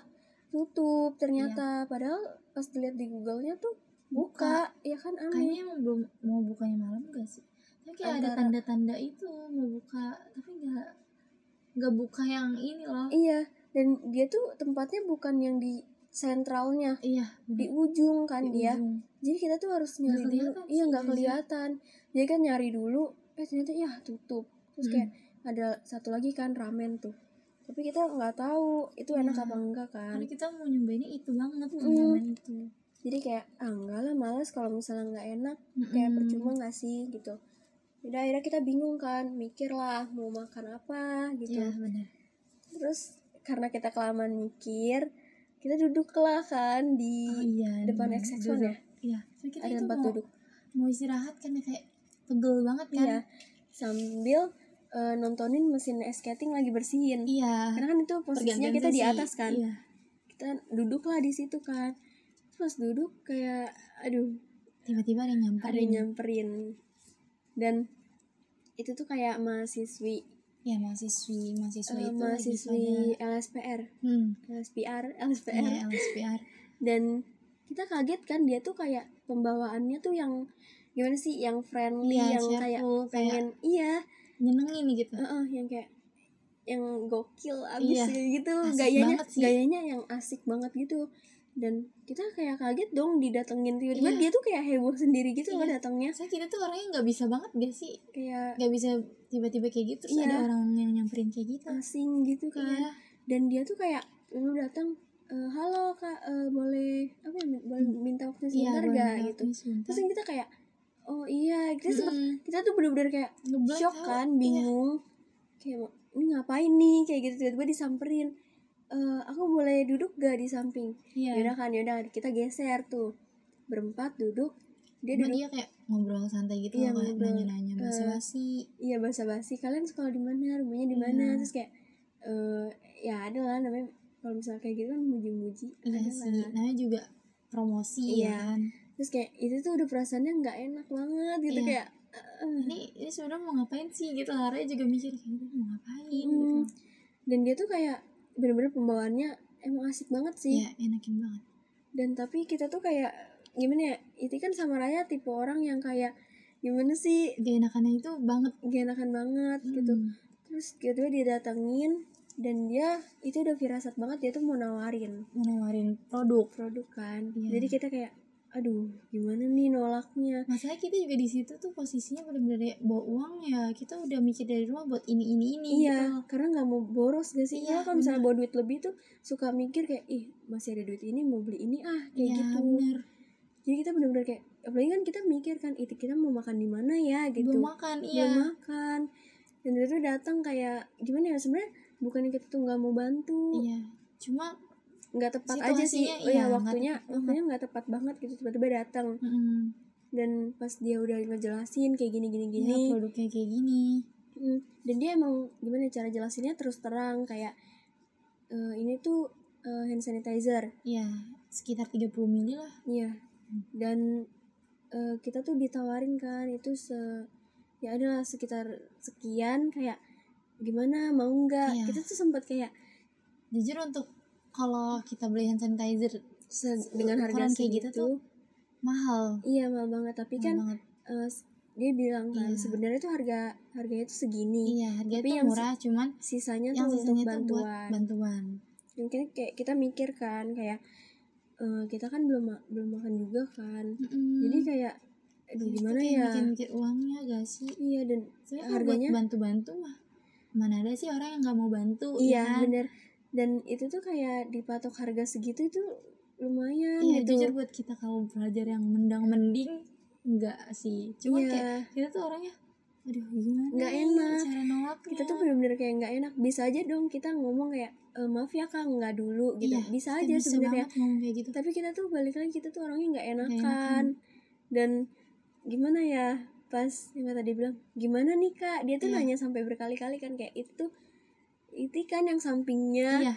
tutup ternyata
Iya.
padahal pas dilihat di Google-nya tuh buka, ya kan aneh
kayaknya emang belum mau bukanya malam gak sih tapi kayak ada
Antara-
tanda-tanda itu mau buka tapi nggak nggak buka yang ini loh
iya dan dia tuh tempatnya bukan yang di sentralnya
iya
di
bener.
ujung kan
Iya, Di
dia
ujung.
jadi kita tuh harus nyari dulu
kelihatan
iya
sih,
nggak
jujur.
kelihatan jadi kan nyari dulu eh ternyata ya tutup terus
Mm.
kayak ada satu lagi kan ramen tuh tapi kita nggak tahu itu enak
Iya.
apa enggak kan
karena kita mau nyobainnya itu banget
Mm.
ramen itu
jadi kayak ah enggak lah males kalau misalnya nggak enak kayak
Mm-mm.
percuma nggak sih gitu udah akhirnya kita bingung kan mikir lah mau makan apa gitu
iya benar
terus karena kita kelamaan mikir kita duduklah kan di
oh iya
depan
bener.
XX1
Duduk.
ya?
iya Tapi kita
ada
itu
tempat
mau,
duduk
mau istirahat kan ya, kayak pegel banget kan
iya sambil eh, nontonin mesin ice skating lagi bersihin
iya
karena kan itu posisinya
Pergantian
kita di
sesi.
atas kan
iya
kita duduklah di situ kan terus pas duduk kayak aduh
tiba-tiba ada yang
ada
nyamperin
yang nyamperin dan itu tuh kayak mahasiswi
ya mahasiswi mahasiswa
eh,
itu lagi
mahasiswi
pada-
LSPR
hmm
LSPR
iya,
LSPR
LSPR
dan kita kaget kan dia tuh kayak pembawaannya tuh yang gimana sih yang friendly
Iya,
yang kayak
cheerful, kayak-
pengen iya
nyenengin nih gitu
heeh, yang kayak yang gokil abis
Iya,
gitu
asik
gayanya
banget sih.
gayanya yang asik banget gitu dan kita kayak kaget dong didatengin tiba-tiba
Iya.
dia tuh kayak heboh sendiri gitu loh
Iya.
datangnya
saya kita tuh orangnya nggak bisa banget gak sih
kayak
nggak bisa tiba-tiba kayak gitu terus
Iya.
ada orang yang nyamperin kayak gitu
asing gitu kan
Iya.
dan dia tuh kayak lu datang "Eh, halo kak eh, boleh apa ya, boleh minta waktu sebentar
Hmm. Iya,
gak
boleh minta
gitu
waktunya sebentar.
terus kita kayak oh iya kita sempet-
Mm-mm.
kita tuh bener-bener kayak
Ngeblok
shock
tau. Iya.
kan bingung kayak ini ngapain nih kayak gitu tiba-tiba disamperin "Eh, aku boleh duduk gak di samping
Iya.
yaudah kan yaudah kita geser tuh berempat duduk dia
Cuma
duduk
dia kayak ngobrol santai gitu
Iya,
loh, kayak
ngobrol.
nanya-nanya
Eh,
basa-basi
iya bahasa basi kalian sekolah di mana rumahnya di mana
Iya.
terus kayak eh ya ada lah namanya kalau misalnya kayak gitu kan muji-muji
iya
ada
sih
lah.
namanya juga promosi
Iya.
ya kan
terus kayak itu tuh udah perasaannya nggak enak banget gitu
Iya.
kayak eh, eh.
ini ini sebenarnya mau ngapain sih gitu Laranya juga mikir kayak gitu mau ngapain gitu
Hmm. dan dia tuh kayak bener-bener pembawaannya emang asik banget sih
ya enakin banget
dan tapi kita tuh kayak gimana ya itu kan sama Raya tipe orang yang kayak gimana sih
gak enakannya itu banget
gak enakan banget gitu
Hmm.
terus gitu dia datengin dan dia itu udah firasat banget dia tuh mau nawarin
Mau nawarin produk
produk kan
Iya.
jadi kita kayak aduh gimana nih nolaknya
masalahnya kita juga di situ tuh posisinya bener-bener ya, bawa uang ya kita udah mikir dari rumah buat ini ini ini
iya
gitu loh.
karena nggak mau boros gak sih Karena
Iya,
kalau misalnya bawa duit lebih tuh suka mikir kayak ih masih ada duit ini mau beli ini ah kayak
Iya,
gitu
bener
jadi kita bener-bener kayak apalagi kan kita mikir kan itu kita mau makan di mana ya gitu
belum makan iya
belum makan dan dia tuh datang kayak gimana ya sebenarnya bukannya kita tuh nggak mau bantu
iya cuma
nggak tepat aja sih
Situasinya,
oh
iya,
ya
nggak
waktunya
tepat banget.
waktunya nggak tepat banget gitu tiba-tiba datang
mm,
dan pas dia udah ngejelasin kayak gini gini
ya,
gini
produknya kayak gini
Mm, dan dia emang gimana ya, cara jelasinnya terus terang kayak "Eh, ini tuh eh, hand sanitizer
ya sekitar 30 mili lah
Iya. Dan eh, kita tuh ditawarin kan itu se ya adalah sekitar sekian kayak gimana mau nggak?
Iya.
Kita tuh sempat kayak
jujur untuk kalau kita beli hand sanitizer
se- dengan harga
ukuran kayak gitu
segitu,
tuh mahal
Iya, mahal banget tapi
Mahal
kan
banget.
eh, s- dia bilang kan
Iya.
sebenarnya tuh harga harganya tuh segini.
iya harga
tapi
itu
yang
murah cuman
Sisanya
yang
tuh untuk
sisanya tuh buat
bantuan.
bantuan
Mungkin kayak kita mikir kan kayak eh, kita kan belum ma- belum makan juga kan.
Mm-mm.
Jadi kayak aduh
Jadi
gimana
tuh Hmm. Iya, kayak
ya?
mikir-mikir uangnya gak sih
Iya dan
Sebenernya
harganya
harganya bantu-bantu mah mana ada sih orang yang nggak mau bantu
Iya
ya kan?
bener Dan itu tuh kayak dipatok harga segitu itu lumayan
Iya,
gitu
jujur buat kita kalau belajar yang mendang mending nggak sih cuma
Iya.
kayak kita tuh orangnya aduh gimana
Nggak
nih
enak.
cara nolaknya
Kita tuh bener-bener kayak nggak enak Bisa aja dong kita ngomong kayak "E, Maaf ya kak nggak dulu gitu
Iya,
Bisa
kita
aja
bisa
sebenarnya
banget ngomong kayak gitu
Tapi kita tuh balik lagi kita tuh orangnya nggak enakan.
enakan.
Dan gimana ya Pas yang tadi bilang Gimana nih kak Dia tuh
Iya.
nanya sampai berkali-kali kan Kayak itu tuh Iti kan yang sampingnya
iya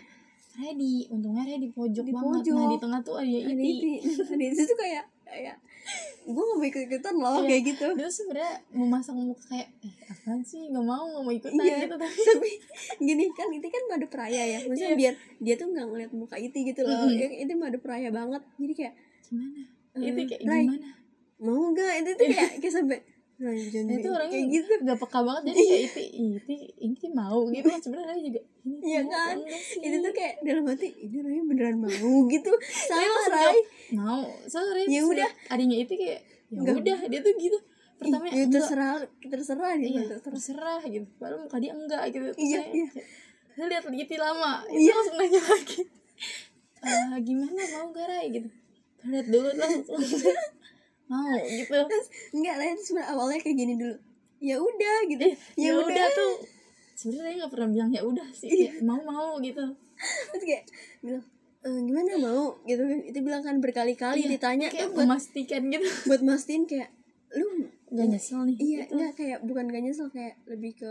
ready untungnya ready di pojok
Di
banget nah
pojok.
di tengah tuh ada
Ada
ini
Iti Ada Iti tuh kayak Kayak Gue gak mau ikut-ikutan loh
Iya.
Kayak gitu
dia sebenarnya memasang muka kayak eh apaan sih nggak mau nggak mau ikutan
Iya.
gitu tapi
tapi gini kan itu kan madu peraya ya maksudnya biar dia tuh nggak ngeliat muka itu gitu loh
Iya. Mm-mm.
Ya, itu madu peraya banget jadi kayak
gimana
Eh,
itu kayak
Rai.
gimana
mau gak itu tuh kayak kayak sampai "Nah, jangan
Nah, itu
kayak-
orangnya
kayak gitu
gitu gak peka banget jadi kayak itu itu itu mau gitu kan sebenarnya Rai juga ini
Iya
mau,
kan?
enggak sih?
itu tuh kayak dalam hati ini orangnya beneran mau gitu sama
Mas
Rai
mau sore
Ya udah.
adanya itu kayak ya
Enggak.
udah dia tuh gitu pertama
Ih, ya terserah terserah dia
iya,
terserah
terserah gitu baru muka dia enggak gitu Terus
Iya,
saya-
iya.
saya lihat gitu lama itu
Iya.
langsung nanya lagi "Eh, gimana mau gak Rai gitu lihat dulu langsung mau gitu
terus enggak Rai itu sebenarnya awalnya kayak gini dulu ya udah gitu
eh,
ya udah Iya.
tuh sebenarnya nggak pernah bilang ya udah sih kayak mau mau gitu
terus kayak bilang "Eh, gimana mau gitu kan itu bilang kan berkali-kali
Iya,
ditanya tuh
kayak
buat
memastikan gitu
buat mastiin kayak lu
gak nyesel nih
iya
gitu.
enggak kayak bukan gak nyesel kayak lebih ke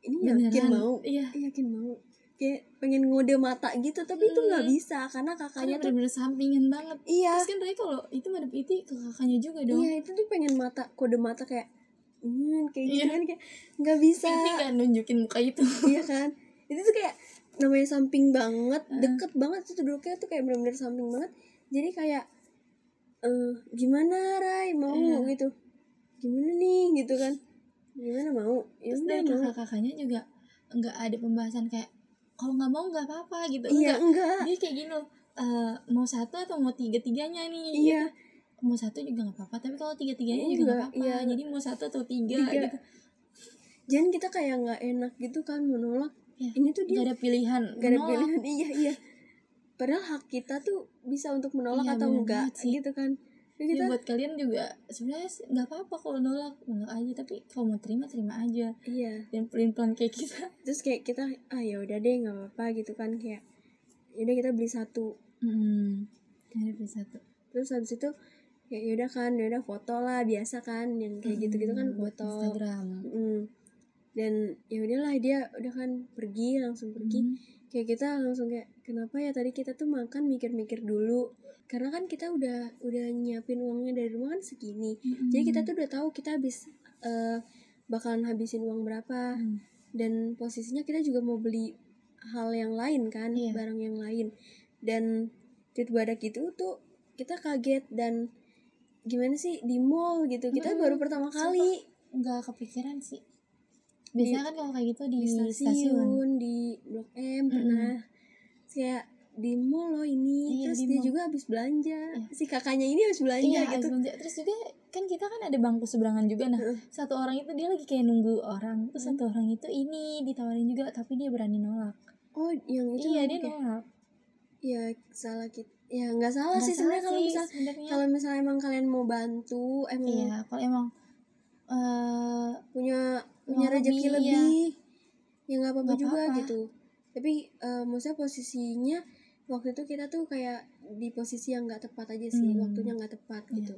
ini yakin
Beneran,
mau
iya.
yakin mau kayak pengen ngode mata gitu tapi itu nggak bisa karena
karena
kakaknya tuh
bener-bener sampingan banget
iya
terus kan Rai kalau itu madep itu ke kakaknya juga dong
iya itu tuh pengen mata kode mata kayak hmm, kayak gitu
Iya. kan?
kan kayak nggak bisa
ini gak nunjukin muka itu
iya kan itu tuh kayak namanya samping banget deket banget tuh duduknya tuh kayak bener-bener samping banget jadi kayak eh gimana Rai mau
Iya.
gitu gimana nih gitu kan gimana mau ya
terus
udah,
dari
mau
kakak kakaknya juga nggak ada pembahasan kayak kalau nggak mau nggak apa-apa gitu
iya
Enggak.
enggak
dia kayak gini loh eh, mau satu atau mau tiga tiganya nih
Iya.
gitu. mau satu juga nggak apa-apa tapi kalau tiga tiganya
Iya,
juga nggak apa-apa
iya.
jadi mau satu atau tiga,
Tiga.
gitu
Jangan kita kayak nggak enak gitu kan menolak.
Iya.
Ini tuh dia
nggak ada pilihan
gak ada
Menolak.
pilihan. Iya iya. Padahal hak kita tuh bisa untuk menolak
Iya,
atau
bener
enggak
banget sih.
gitu kan. Ya,
Jadi
kita
Iya, buat kalian juga sebenarnya sih nggak apa-apa kalau nolak nolak aja tapi kalau mau terima terima aja
iya.
dan pelin pelan kayak gitu. kita
Terus kayak kita ah ya udah deh nggak apa-apa gitu kan kayak yaudah kita beli satu
hmm.
Mm-hmm.
ada beli satu
terus habis itu ya yaudah kan yaudah foto lah biasa kan yang kayak gitu gitu kan
Hmm, buat
foto
Instagram
Mm. dan ya udahlah dia udah kan pergi langsung pergi
Hmm.
kayak kita langsung kayak kenapa ya tadi kita tuh makan mikir-mikir dulu karena kan kita udah udah nyiapin uangnya dari rumah kan segini
Mm-mm.
jadi kita tuh udah tahu kita habis eh, bakalan habisin uang berapa
Hmm.
dan posisinya kita juga mau beli hal yang lain kan
Iya.
barang yang lain dan tiba ada gitu tuh kita kaget dan gimana sih di mall gitu kita
Mm-mm,
baru pertama kali
nggak kepikiran sih biasanya kan kalau kayak gitu di,
di
stasiun,
stasiun di blok M pernah kayak di mall loh ini
Iya,
terus
di
dia
mall.
juga habis belanja
Iya.
si kakaknya ini habis belanja
Iya,
gitu
habis belanja. terus juga kan kita kan ada bangku seberangan juga nah
Heeh.
satu orang itu dia lagi kayak nunggu orang terus
Hmm.
satu orang itu ini ditawarin juga tapi dia berani nolak
oh yang itu
iya
namanya
dia
kayak-
nolak
ya salah kita ya nggak salah
Nggak
sih
salah
sebenarnya kalau
sih
misal
sebenarnya.
kalau misalnya emang kalian mau bantu emang
iya kalau emang eh
punya punya
Uang
rezeki
lebih,
lebih, ya nggak apa-apa
iya. Nggak
juga
apa-apa.
gitu tapi eh, maksudnya posisinya waktu itu kita tuh kayak di posisi yang nggak tepat aja sih
Hmm.
waktunya nggak tepat
Iya.
gitu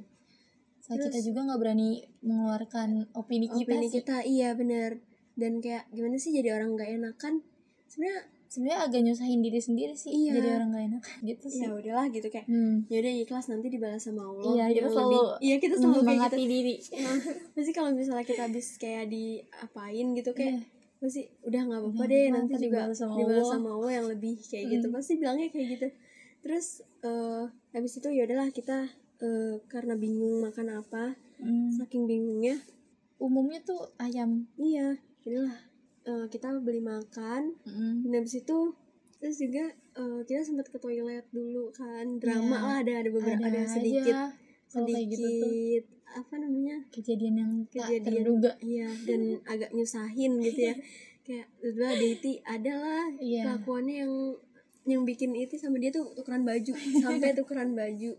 saat kita
Terus-
juga nggak berani mengeluarkan opini kita
opini
sih
kita iya bener dan kayak gimana sih jadi orang nggak enakan sebenarnya
sebenarnya agak nyusahin diri sendiri sih
Iya.
jadi orang gak enak gitu sih
ya udahlah gitu kayak
hmm.
ya udah ikhlas nanti dibalas sama Allah
Iya, kita
yang
selalu
lebih- iya kita selalu kayak gitu
menyemangati diri
Nah, pasti kalau misalnya kita habis kayak diapain gitu kayak
Iya.
pasti udah nggak apa-apa
Udah,
deh
nggak
nanti
apa-apa,
juga
dibalas sama
dibalas
Allah.
sama Allah yang lebih kayak gitu
Hmm.
pasti bilangnya kayak gitu terus eh habis itu ya udahlah kita eh, karena bingung makan apa
Hmm.
saking bingungnya
umumnya tuh ayam
iya udahlah eh, kita beli makan
Mm.
dan Nah, habis itu terus juga eh, kita sempat ke toilet dulu kan drama
Iya.
lah ada ada beberapa ada,
aja
sedikit
kalau kayak
sedikit
gitu tuh.
apa namanya
kejadian yang tak
Kejadian.
terduga
Iya, dan agak nyusahin gitu ya. Kayak E berdua Deity adalah
Iya.
kelakuannya yang yang bikin itu sama dia tuh tukeran baju sampai tukeran baju.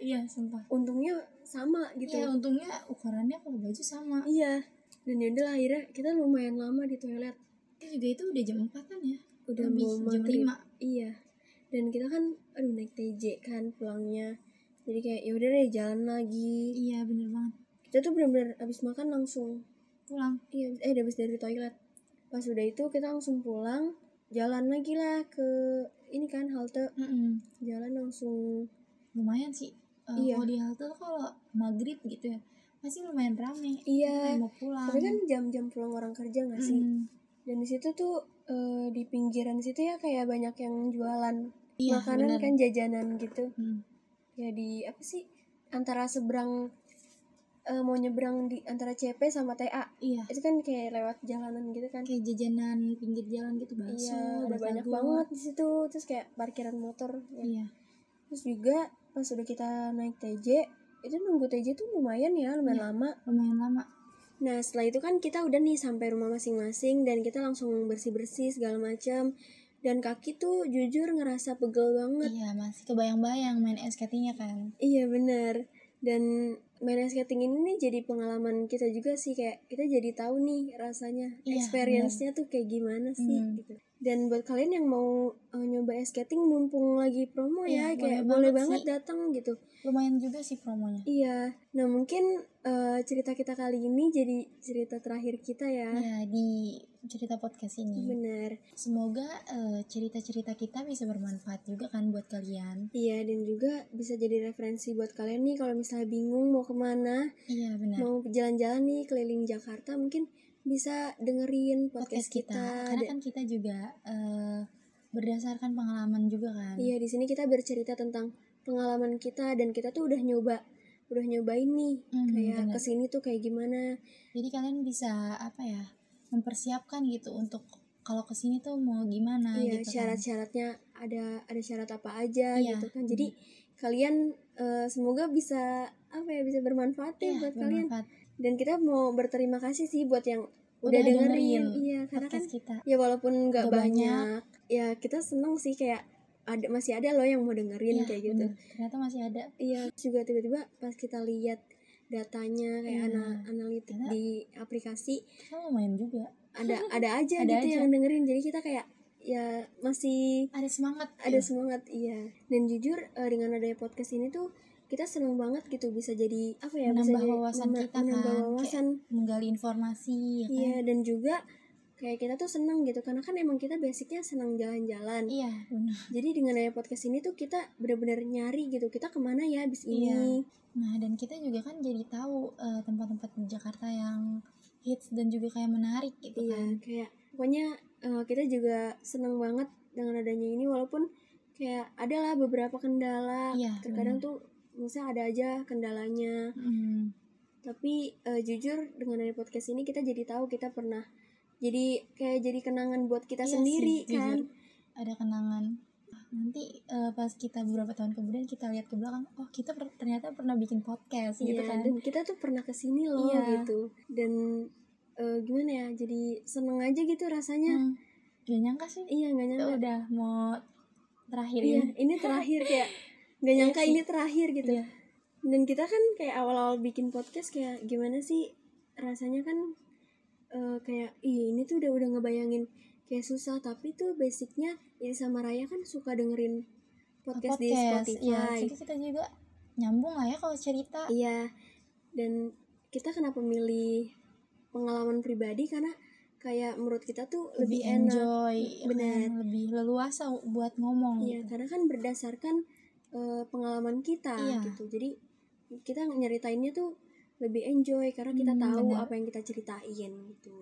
iya sumpah
Untungnya sama
gitu.
gitu.
untungnya ukurannya kalau baju sama
Iya. Dan yaudah lah, akhirnya kita lumayan lama di toilet.
Ini juga itu udah jam 4 kan ya udah
Lebih
mau jam
maghrib.
5
Iya. Dan kita kan aduh naik TJ kan pulangnya. Jadi kayak yaudah deh jalan lagi.
iya bener banget
Kita tuh bener-bener abis makan langsung
pulang
Iya, eh udah habis dari toilet. Pas udah itu kita langsung pulang, jalan lagi lah ke ini kan halte,
Mm-mm.
jalan langsung.
lumayan sih Eh,
Iya.
kalau di halte tuh kalau maghrib gitu ya masih lumayan rame
Iya.
Kayak mau pulang
Tapi kan jam-jam pulang orang kerja nggak sih?
Mm-mm.
Dan di situ tuh eh, di pinggiran situ ya kayak banyak yang jualan
Iya,
makanan
bener.
kan jajanan gitu.
Mm.
Ya di apa sih? Antara seberang eh, mau nyebrang di antara CP sama TA.
iya
Itu kan kayak lewat jalanan gitu kan.
kayak jajanan pinggir jalan gitu
Iya,
bakso Iya, ada
udah banyak
tahu.
banget di situ. Terus kayak parkiran motor ya
iya
Terus juga pas udah kita naik TJ, itu nunggu TJ tuh lumayan ya, lumayan
Iya.
lama.
lumayan lama
Nah setelah itu kan kita udah nih sampai rumah masing-masing dan kita langsung bersih-bersih segala macam. Dan kaki tuh jujur ngerasa pegel banget.
iya masih kebayang-bayang main es skatingnya kan
Iya bener. Dan main ice skating ini nih jadi pengalaman kita juga sih kayak kita jadi tahu nih rasanya
Iya,
experience-nya tuh kayak gimana sih
Hmm.
gitu. Dan buat kalian yang mau eh, nyoba ice skating mumpung lagi promo ya
Iya,
kayak boleh
boleh banget
banget
sih.
datang gitu.
lumayan juga sih promonya
Iya, nah mungkin eh, cerita kita kali ini jadi cerita terakhir kita ya.
ya di cerita podcast ini
Benar.
semoga eh, cerita-cerita kita bisa bermanfaat juga kan buat kalian
Iya, dan juga bisa jadi referensi buat kalian nih kalau misalnya bingung mau kemana,
iya benar
mau jalan-jalan nih keliling Jakarta, mungkin bisa dengerin podcast,
podcast kita
kita.
karena
Da-
kan kita juga eh, berdasarkan pengalaman juga kan
Iya, di sini kita bercerita tentang pengalaman kita dan kita tuh udah nyoba, udah nyobain nih
Hmm,
kayak
benar.
kesini tuh kayak gimana.
jadi kalian bisa apa ya mempersiapkan gitu untuk kalau kesini tuh mau gimana
Iya,
gitu kan.
syarat-syaratnya ada ada syarat apa aja
Iya.
gitu kan. Jadi kalian eh, semoga bisa apa ya bisa bermanfaat ya
Iya,
buat kalian.
bermanfaat.
Dan kita mau berterima kasih sih buat yang udah,
Udah
dengerin.
dengerin
Iya, karena kan
podcast kita.
ya walaupun nggak
Nggak
banyak, ya kita seneng sih kayak ada masih ada loh yang mau dengerin
Iya,
kayak gitu.
bener. Ternyata masih ada.
Iya, terus juga tiba-tiba pas kita lihat datanya kayak
Iya.
ana- analitik
Karena-
di aplikasi
Kita kan lumayan juga.
ada ada aja
Ada
gitu
aja.
yang dengerin. Jadi kita kayak ya masih
Ada semangat.
ada
Iya.
semangat iya dan jujur eh, dengan adanya podcast ini tuh kita senang banget gitu bisa jadi apa ya bisa
Menambah
jadi
wawasan
mena-
kita
menambah
kan,
wawasan
menggali informasi ya kan.
iya dan juga kayak kita tuh senang gitu karena kan emang kita basicnya senang jalan-jalan
Iya, benar.
jadi dengan adanya podcast ini tuh kita benar-benar nyari gitu kita kemana ya abis
Iya,
ini
Nah, dan kita juga kan jadi tahu eh, tempat-tempat di Jakarta yang hits dan juga kayak menarik gitu
iya
kan.
kayak pokoknya eh, kita juga senang banget dengan adanya ini walaupun kayak adalah beberapa kendala
Iya,
terkadang tuh misalnya ada aja kendalanya
Mm.
tapi eh, jujur dengan dari podcast ini kita jadi tahu kita pernah jadi kayak jadi kenangan buat kita
Iya
sendiri
sih, jujur.
kan
Ada kenangan. Nanti eh, pas kita beberapa tahun kemudian kita lihat ke belakang, oh kita per- ternyata pernah bikin podcast gitu
Iya,
kan.
dan kita tuh pernah kesini loh
Iya.
gitu dan eh, gimana ya jadi seneng aja gitu rasanya
Hmm. Gak nyangka sih.
iya nggak
Kita
nyangka
udah mau terakhir
iya
ini.
ini terakhir kayak nggak nyangka
Iya sih.
ini terakhir gitu
Iya.
dan kita kan kayak awal-awal bikin podcast kayak gimana sih rasanya kan eh, kayak ih ini tuh udah udah ngebayangin kayak susah tapi tuh basicnya ini sama Raya kan suka dengerin podcast, di
Iya,
Spotify
jadi kita juga nyambung lah ya kalau cerita.
iya dan kita kenapa milih pengalaman pribadi karena kayak menurut kita tuh lebih,
lebih
enak
enjoy,
Bener.
kan, lebih leluasa buat ngomong
Iya,
gitu.
karena kan berdasarkan eh, pengalaman kita
Iya.
gitu. Jadi kita nyeritainnya tuh lebih enjoy karena kita
Hmm,
tahu
benar.
apa yang kita ceritain gitu.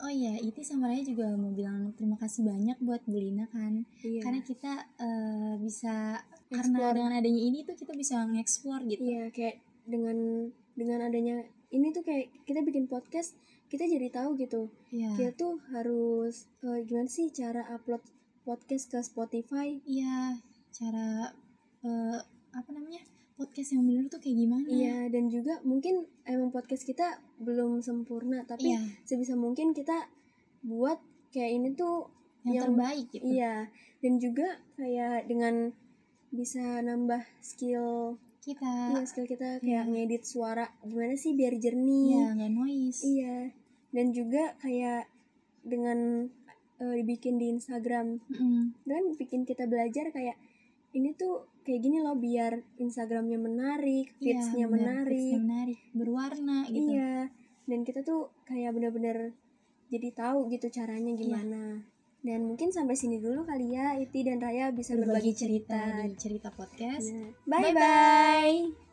Oh iya, Iti sama Raya juga mau bilang terima kasih banyak buat Bulina kan.
Iya.
Karena kita eh, bisa karena
Explore.
dengan adanya ini tuh kita bisa nge-explore gitu.
Iya, kayak dengan dengan adanya ini tuh kayak kita bikin podcast, kita jadi tahu gitu.
Iya.
Kita tuh harus eh, gimana sih cara upload podcast ke Spotify?
Iya, cara eh, apa namanya? podcast yang bener tuh kayak gimana?
Iya, dan juga mungkin emang podcast kita belum sempurna, tapi
Iya,
sebisa mungkin kita buat kayak ini tuh
yang,
yang-
terbaik gitu.
Iya, dan juga kayak dengan bisa nambah skill,
Kita
iya, skill kita kayak
Iya.
ngedit suara gimana sih biar
iya
jernih.
nggak noise.
Iya. Dan juga kayak dengan eh, dibikin di Instagram
Mm-mm.
dan bikin kita belajar kayak ini tuh kayak gini loh biar Instagramnya menarik,
Iya,
feedsnya
bener, feedsnya
menarik.
menarik, berwarna gitu.
Iya. Dan kita tuh kayak bener-bener jadi tahu gitu caranya gimana. Dan mungkin sampai sini dulu kali
gitu.
ya Iti dan Raya bisa berbagi, cerita.
di cerita podcast.
Bye bye.